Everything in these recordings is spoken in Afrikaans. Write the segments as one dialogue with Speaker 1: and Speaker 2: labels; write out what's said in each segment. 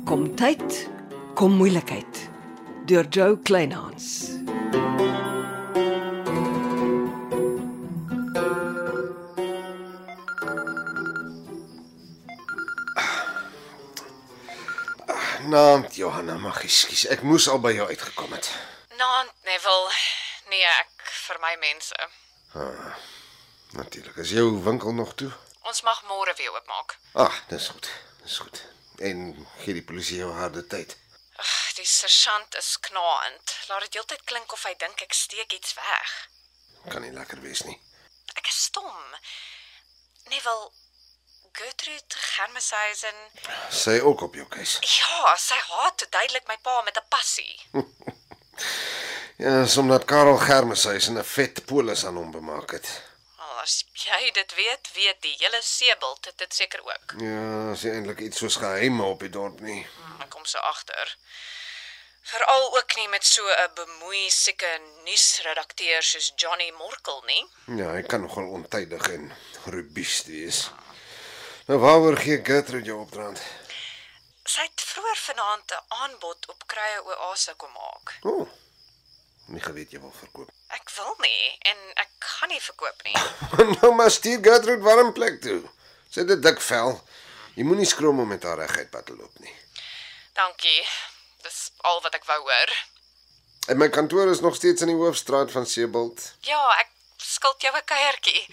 Speaker 1: Gesondheid kom moeilikheid deur Joe Kleinhans.
Speaker 2: Naamd Johanna, mag ekskuus. Ek moes al by jou uitgekom het.
Speaker 3: Naand Neville. Nee, ek vermy mense.
Speaker 2: Natuurlik. Is jou winkel nog toe?
Speaker 3: Ons mag môre weer oopmaak.
Speaker 2: Ag, dis goed. Dis goed. En gee die polisie jou harde tyd.
Speaker 3: Ag, die sergeant is knaand. Laat dit heeltyd klink of hy dink ek steek iets weg.
Speaker 2: Kan nie lekker wees nie.
Speaker 3: Ek is stom. Neville Gertrude Germeshuisen.
Speaker 2: Sy ook op jou keus.
Speaker 3: Ja, sy haat duidelik my pa met 'n passie.
Speaker 2: Ja, dis omdat Karel Germeshuisen 'n vet polis aan hom bemaak het.
Speaker 3: Al as jy dit weet, weet die hele seebult dit, dit seker ook.
Speaker 2: Ja, is nie eintlik iets soos geheime op die dorp nie.
Speaker 3: Hm, Ek kom se agter. Veral ook nie met so 'n bemoei sieke nuusredakteur soos Johnny Morkel nie.
Speaker 2: Ja, hy kan nogal ontydig en rubies wees. Nou waaroor gee Gertrude jou opdraand?
Speaker 3: Sy het vroeër vanaand 'n aanbod op Kruie Oase kom maak.
Speaker 2: O. Oh, nie geweet jy wil verkoop.
Speaker 3: Ek wil nie en ek gaan nie verkoop nie.
Speaker 2: nou maar stuur Gertrude warm plek toe. Sy het 'n dik vel. Jy moenie skroom om met haar reguit pad te loop nie.
Speaker 3: Dankie. Dis al wat ek wou hoor.
Speaker 2: En my kantoor is nog steeds in die hoofstraat van Sebald.
Speaker 3: Ja, ek skuld jou 'n kuiertjie.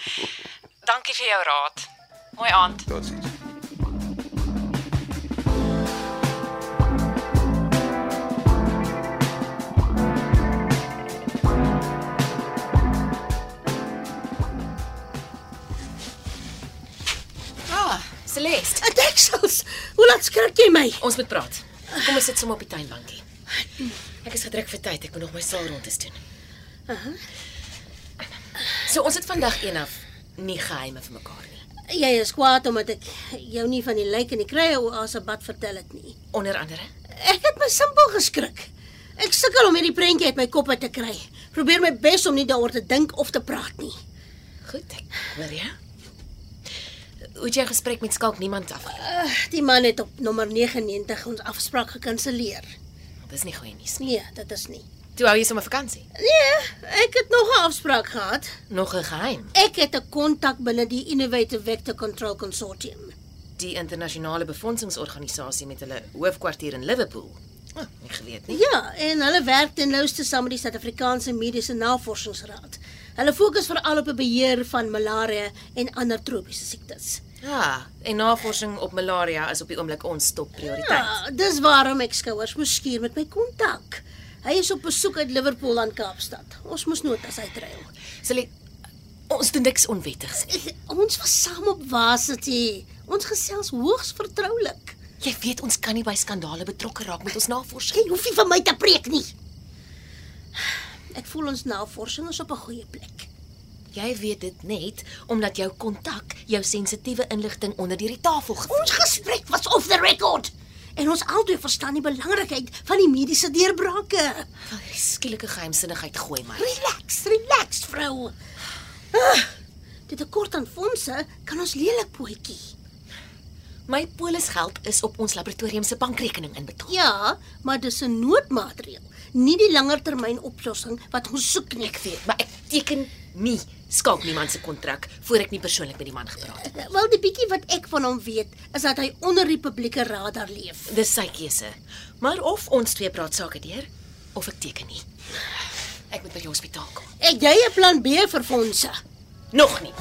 Speaker 3: Dankie vir jou raad. Mooi aand.
Speaker 2: Totsiens.
Speaker 4: Ah, Celeste,
Speaker 5: Deksels. Hoe laat skrik jy my?
Speaker 4: ons moet praat. Kom ons sit sommer op die tuinbankie. Ek is gedruk vir tyd. Ek moet nog my saal rondes doen. Uh-huh. So ons het vandag eendag nie geheime vir mekaar nie.
Speaker 5: Jy is kwaad omdat ek jou nie van die lijk in die kruie oase bad vertel het nie.
Speaker 4: Onder andere,
Speaker 5: Ek het my simpel geskrik. Ek sukkel om hierdie prentjie uit my kop uit te kry. Probeer my bes om nie daaroor te dink of te praat nie.
Speaker 4: goed, ek hoor jou. Hoe het jy gesprek met Skalk niemand af?
Speaker 5: Uh, die man het op nommer 99 ons afspraak gekanselleer.
Speaker 4: Dis nie goeie nuus nie.
Speaker 5: Nee, dit is nie.
Speaker 4: Toe hou jy sommer vakansie.
Speaker 5: Nee, ek het nog 'n afspraak gehad.
Speaker 4: Nog 'n geheim.
Speaker 5: Ek het 'n kontak binne die Innovative Vector Control Consortium.
Speaker 4: Die internasionale befondsingsorganisasie met hulle hoofkwartier in Liverpool. O, oh, nie geweet nie.
Speaker 5: Ja, en hulle werk ten nouste saam met die Suid-Afrikaanse Mediese Navorsingsraad. Hulle fokus veral op die beheer van malaria en ander tropiese siektes.
Speaker 4: Ja, en navorsing op malaria is op die oomblik ons top prioriteit.
Speaker 5: Ja, dis waarom ek skouers moes skuur met my kontak. Hy is op besoek uit Liverpool aan Kaapstad. Ons moes notas uitruil.
Speaker 4: Sal ek ons doen niks onwettigs. nie.
Speaker 5: Ons was saam op Varsity. Ons gesels hoogs vertroulik.
Speaker 4: Jy weet ons kan nie by skandale betrokke raak met ons navorsing.
Speaker 5: Jy hoef nie van my te preek nie. Ek voel ons navorsing is op 'n goeie plek.
Speaker 4: Jy weet dit net omdat jou kontak jou sensitiewe inligting onder hierdie tafel gevoer.
Speaker 5: Ons gesprek was off the record. En ons albei verstaan die belangrikheid van die mediese deurbrake.
Speaker 4: Wel, hierdie skielike geheimsinnigheid gooi my.
Speaker 5: Relax, relax vrou. Ah, dit tekort aan fondse kan ons lelik pootjie.
Speaker 4: My polisgeld is op ons laboratorium se bankrekening inbetaal.
Speaker 5: Ja, maar dis 'n noodmaatreël, nie die langetermyn oplossing wat ons soek nie.
Speaker 4: Ek weet, maar ek teken nie skaak niemand se kontrak voor ek nie persoonlik met die man gepraat het.
Speaker 5: Wel die bietjie wat ek van hom weet, is dat hy onder die publieke radar leef.
Speaker 4: Dis sy keuse. Maar of ons twee praat sake deur of ek teken nie. Ek moet by die hospitaal kom.
Speaker 5: Het jy 'n plan B vir fondse?
Speaker 4: Nog nie.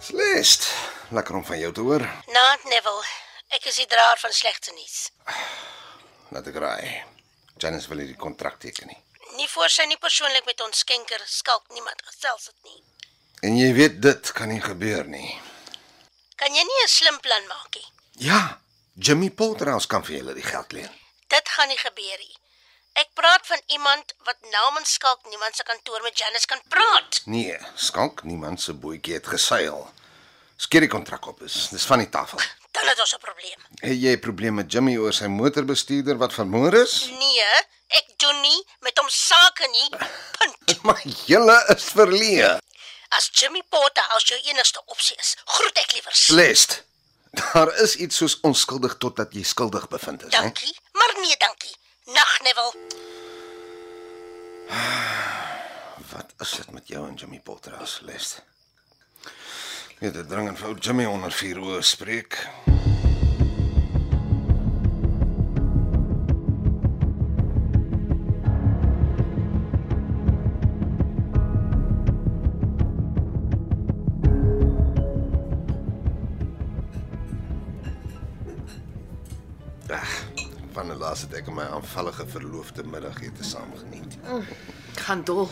Speaker 2: Slest. Lekker om van jou te hoor.
Speaker 5: Naat Neville, ek is die draer van slegte nuus.
Speaker 2: Laat ek raai. Janice wil hierdie kontrak teken nie.
Speaker 5: Nie voor sy nie persoonlik met ons skenker skalk niemand gesels het nie.
Speaker 2: En jy weet dit kan nie gebeur nie.
Speaker 5: Kan jy nie 'n slim plan maak nie?
Speaker 2: Ja, Jimmy Potterhouse kan vir julle die geld leen.
Speaker 5: Dit gaan nie gebeur nie. Ek praat van iemand wat namens skalk niemand se kantoor met Janice kan praat.
Speaker 2: Nee, skank niemand se bootjie het geseil. Skeer die kontrak op is. Dis van die tafel.
Speaker 5: Dan het ons 'n probleem.
Speaker 2: Het jy 'n probleem met Jimmy oor sy motorbestuurder wat vermoor is?
Speaker 5: Nee, ek doen nie met hom sake nie. Punt.
Speaker 2: Maar julle is verleë.
Speaker 5: As Jimmy Potter as jou enigste opsie is, groet ek liewer.
Speaker 2: Blessed. Daar is iets soos onskuldig totdat jy skuldig bevind is, hè?
Speaker 5: Dankie, maar nee, dankie. Nag, Neville.
Speaker 2: Wat is dit met jou en Jimmy Potter as Blessed? Jy het dringend vir ou Jimmy onder vier oë spreek. Ag, van die laaste het ek in my aanvallige verloofde middagete saam geniet.
Speaker 4: Ek gaan dol.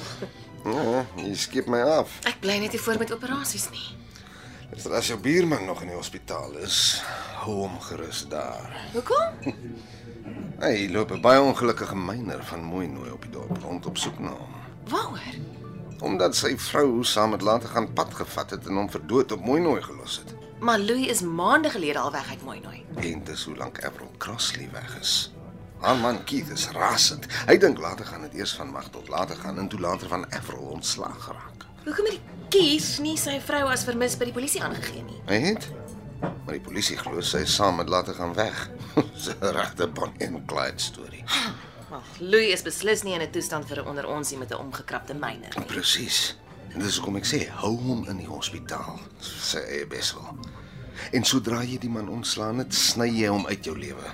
Speaker 2: Ja, jy skiep my af.
Speaker 4: Ek bly net nie voor met operasies nie.
Speaker 2: Luister, as jou buurman nog in die hospitaal is, hou hom gerus daar.
Speaker 4: Hoekom?
Speaker 2: Hy loop 'n baie ongelukkige myner van mooi nooi op die dorp rond op soek na hom.
Speaker 4: Waaroor?
Speaker 2: Omdat sy vrou saam met later gaan pad gevat het en hom vir dood op mooi nooi gelos het.
Speaker 4: Maar Louis is maande gelede al weg uit mooi nooi.
Speaker 2: En dis hoe lank Avril Crossley weg is. Haar man Keith is rasend. Hy dink later gaan dit eers van mag tot later gaan en toe later van Avril ontslaag geraak.
Speaker 4: Hoekom het die kies nie sy vrou as vermis by die polisie aangegee nie?
Speaker 2: Hy het maar die polisie glo sy is saam met later gaan weg. Dis 'n regte Bonnie en Clyde storie.
Speaker 4: Maar Louis is beslis nie in 'n toestand vir 'n onder onsie met 'n omgekrapte myner nie.
Speaker 2: Presies. En dis hoekom ek sê hou hom in die hospitaal. Sy eie besel. En sodra jy die man ontslaan het, sny jy hom uit jou lewe.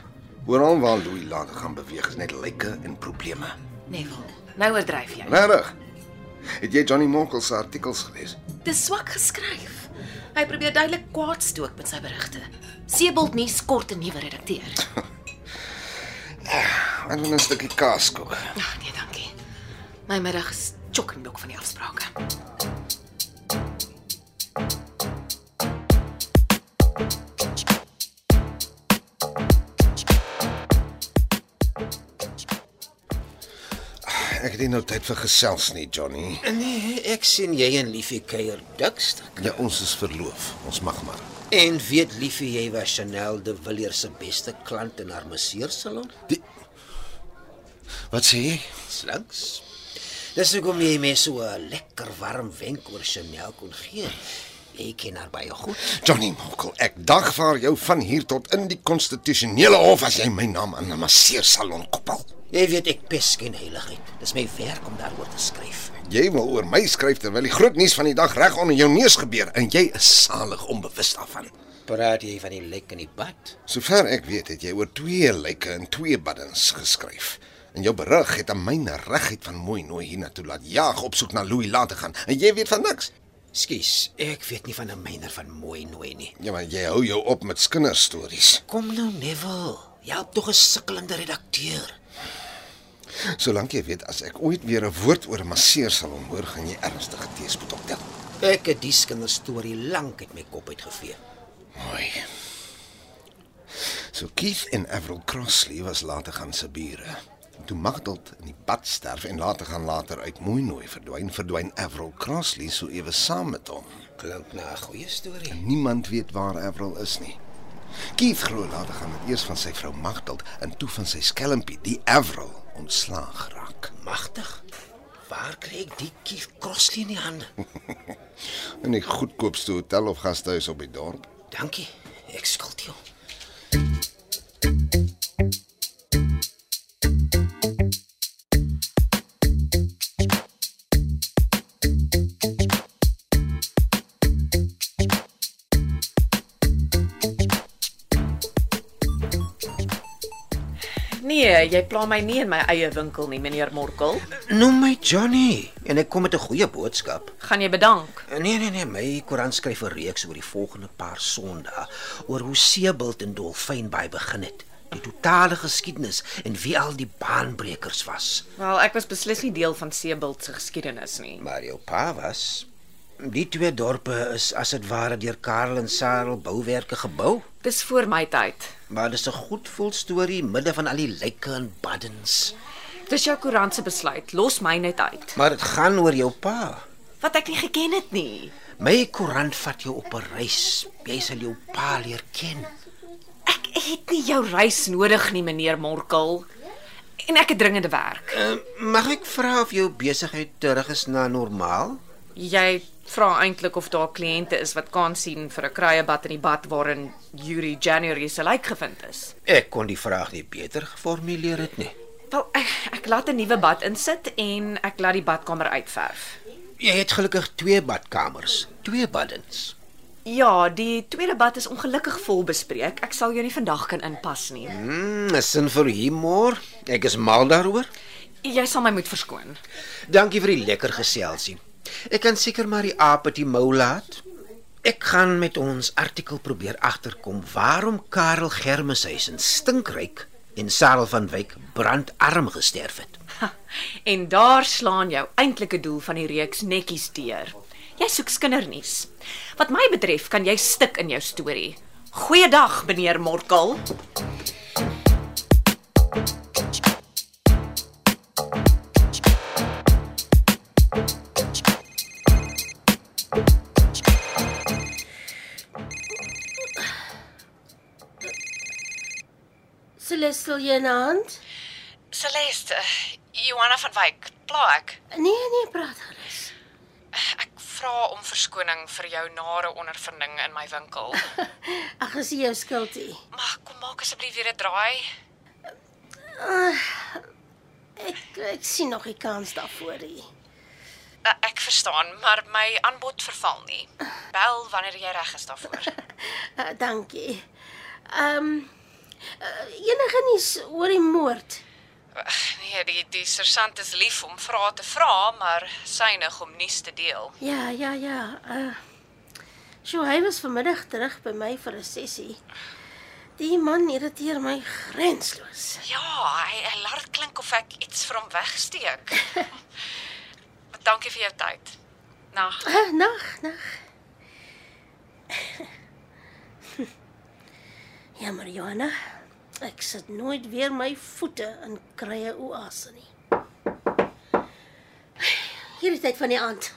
Speaker 2: Oral waar Louis later gaan beweeg is net lyke en probleme.
Speaker 4: Neville, nou oordryf jy.
Speaker 2: Regtig? Het jy Johnny Monkel se artikels gelees?
Speaker 4: Dis swak geskryf. Hy probeer duidelik kwaad stook met sy berigte. Sebald nuus kort 'n nuwe redakteur.
Speaker 2: Ek wil 'n stukkie kaas kook.
Speaker 4: Ag nee, dankie. My middag is chokkenblok van die afsprake.
Speaker 2: Ek het nie nou tyd vir gesels nie, Johnny.
Speaker 6: Nee, ek sien jy en Liefie kuier dikstuk.
Speaker 2: Ja, ons is verloof. Ons mag maar.
Speaker 6: En weet Liefie jy was Chanel de Villiers se beste klant in haar masseursalon?
Speaker 2: Die Wat sê jy?
Speaker 6: Slanks. Dis hoekom jy my so 'n lekker warm wenk oor Chanel kon gee. Jy ken haar baie goed.
Speaker 2: Johnny Mokkel, ek dagvaar jou van hier tot in die konstitusionele hof as jy my naam aan 'n masseursalon koppel.
Speaker 6: Jy weet ek pes geen heiligheid. Dis my werk om daaroor te skryf.
Speaker 2: Jy wil oor my skryf terwyl die groot nuus van die dag reg onder jou neus gebeur en jy is salig onbewus daarvan.
Speaker 6: Praat jy van die lek in die bad?
Speaker 2: Sover ek weet, het jy oor twee lyke en twee baddens geskryf. En jou berig het aan myne regheid van mooi nooi hiernatoe laat jaag op soek na Louis laat te gaan en jy weet van niks.
Speaker 6: Skus, ek weet nie van 'n myner van mooi nooi nie.
Speaker 2: Ja, maar jy hou jou op met skinderstories.
Speaker 6: Kom nou, Neville. Jy help tog 'n sukkelende redakteur.
Speaker 2: Solank jy weet as ek ooit weer 'n woord oor 'n masseursalon hoor, gaan jy ernstige teëspoed optel.
Speaker 6: Ek het die kinderstorie lank uit my kop uitgevee.
Speaker 2: Mooi. So Keith en Avril Crossley was later gaan se bure. Toe Magdalt in die bad sterf en later gaan later uit mooi nooi verdwyn, verdwyn Avril Crossley so ewe saam met hom.
Speaker 6: Klink na 'n goeie storie.
Speaker 2: Niemand weet waar Avril is nie. Keith glo later gaan dit eers van sy vrou Magdalt en toe van sy skelmpie, die Avril, ontslaag raak.
Speaker 6: Magtig. Waar kry ek die kief Crossley in die hande?
Speaker 2: In die goedkoopste hotel of gasthuis op die dorp.
Speaker 6: Dankie. Ek skuld jou.
Speaker 7: Nee, jy pla my nie in my eie winkel nie, meneer Morkel.
Speaker 6: Noem my Johnny en ek kom met 'n goeie boodskap.
Speaker 7: Gaan jy bedank.
Speaker 6: Nee nee nee, my koerant skryf 'n reeks oor die volgende paar sondae oor hoe Seebult en Dolfyn by begin het. Die totale geskiedenis en wie al die baanbrekers was.
Speaker 7: Wel, ek was beslis nie deel van Sebult se geskiedenis nie.
Speaker 6: Maar jou pa was. Die twee dorpe is as dit ware deur Karel en Sarel bouwerke gebou.
Speaker 7: Dis voor my tyd.
Speaker 6: Maar dis 'n goed vol storie midde van al die lyke en baddens.
Speaker 7: Dis jou koerant se besluit. Los my net uit.
Speaker 6: Maar dit gaan oor jou pa.
Speaker 7: Wat ek nie geken het nie.
Speaker 6: My koerant vat jou op 'n reis. Jy sal jou pa leer ken.
Speaker 7: het nie jou reis nodig nie, meneer Morkel. En ek het dringende werk.
Speaker 6: Uh, mag ek vra of jou besigheid terug is na normaal?
Speaker 7: Jy vra eintlik of daar kliënte is wat kan sien vir 'n kruiebad in die bad waarin Yuri January se lijk gevind is.
Speaker 6: Ek kon die vraag nie beter geformuleer het nie.
Speaker 7: Wel, ek, ek laat 'n nuwe bad insit en ek laat die badkamer uitverf.
Speaker 6: Jy het gelukkig twee badkamers, twee baddens.
Speaker 7: Ja, die tweede bad is ongelukkig vol bespreek. Ek sal jou nie vandag kan inpas nie.
Speaker 6: Mm, 'n sin vir humor. Ek is mal daaroor.
Speaker 7: Jy sal my moet verskoon.
Speaker 6: Dankie vir die lekker geselsie. Ek kan seker maar die aap uit die mou laat. Ek gaan met ons artikel probeer agterkom waarom Karel Germeshuis in Stinkryk en Sarel van Wyk brandarm gesterf het.
Speaker 7: Ha, en daar slaan jou eintlike doel van die reeks netjies deur. Jy soek skindernuus. Wat my betref, kan jy stik in jou storie. Goeiedag, meneer Morkel.
Speaker 5: Celeste, sal jy 'n hand?
Speaker 3: Celeste, Johanna van Wyk, pla ek.
Speaker 5: Nee, nee, praat gerus.
Speaker 3: Ek vra om verskoning vir jou nare ondervinding in my winkel.
Speaker 5: Ag, is nie jou skuld nie.
Speaker 3: Mag kom maak asseblief weer 'n draai.
Speaker 5: Ek ek sien nog nie kans daarvoor nie.
Speaker 3: Eh, Ek verstaan, maar my aanbod verval nie. Bel wanneer jy reg is daarvoor.
Speaker 5: Uh, dankie. Ehm um, uh, enige nuus oor die moord?
Speaker 3: Nee, die die sergeant is lief om vrae te vra, maar synig om nuus te deel.
Speaker 5: Ja, ja, ja. Uh Sjoe, hy was vanmiddag terug by my vir 'n sessie. Die man irriteer my grensloos.
Speaker 3: Ja, hy hy laat klink of ek iets vir hom wegsteek. Maar dankie vir jou tyd. Nag.
Speaker 5: Uh, nag, nag. Jammer, Johanna. Ja, Ek sit nooit weer my voete in krye oase nie. Hier is dit van die aand.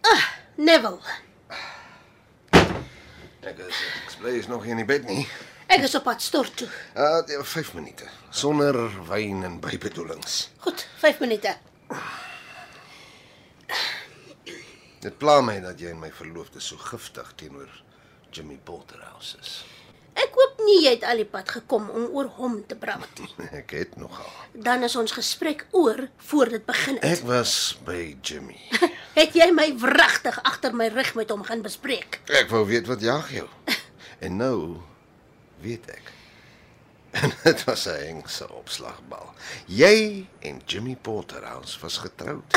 Speaker 5: Ah, Neville.
Speaker 2: Ek is ek bly is nog hier in die bed nie.
Speaker 5: Ek is op pad stort toe.
Speaker 2: Uh 5 minute sonder wyn en bybedoelings.
Speaker 5: Goed, 5 minute.
Speaker 2: Dit pla my dat jy en my verloofde so giftig teenoor Jimmy Potterhouse is.
Speaker 5: Ek hoop nie jy het al die pad gekom om oor hom te praat nie.
Speaker 2: Ek het nogal.
Speaker 5: Dan is ons gesprek oor voor dit begin
Speaker 2: Ek
Speaker 5: het.
Speaker 2: was by Jimmy.
Speaker 5: Het jy my wragtig agter my rug met hom gaan bespreek?
Speaker 2: Ek wou weet wat jag jou. En nou weet ek. En dit was 'n hengse opslagbal. Jy en Jimmy Potterhouse was getroud.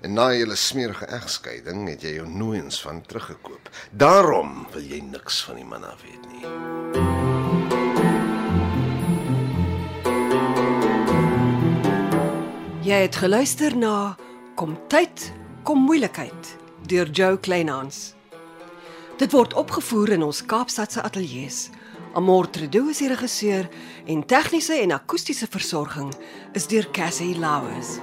Speaker 2: En na julle smerige egskeiding het jy jou nooiens van teruggekoop. Daarom wil jy niks van die man af weet nie.
Speaker 1: Jy het geluister na Kom tyd, kom moeilikheid deur Jo Kleinhans. Dit word opgevoer in ons Kaapstadse ateljee se. Amortredo is die regisseur en tegniese en akoestiese versorging is deur Cassie Lauers.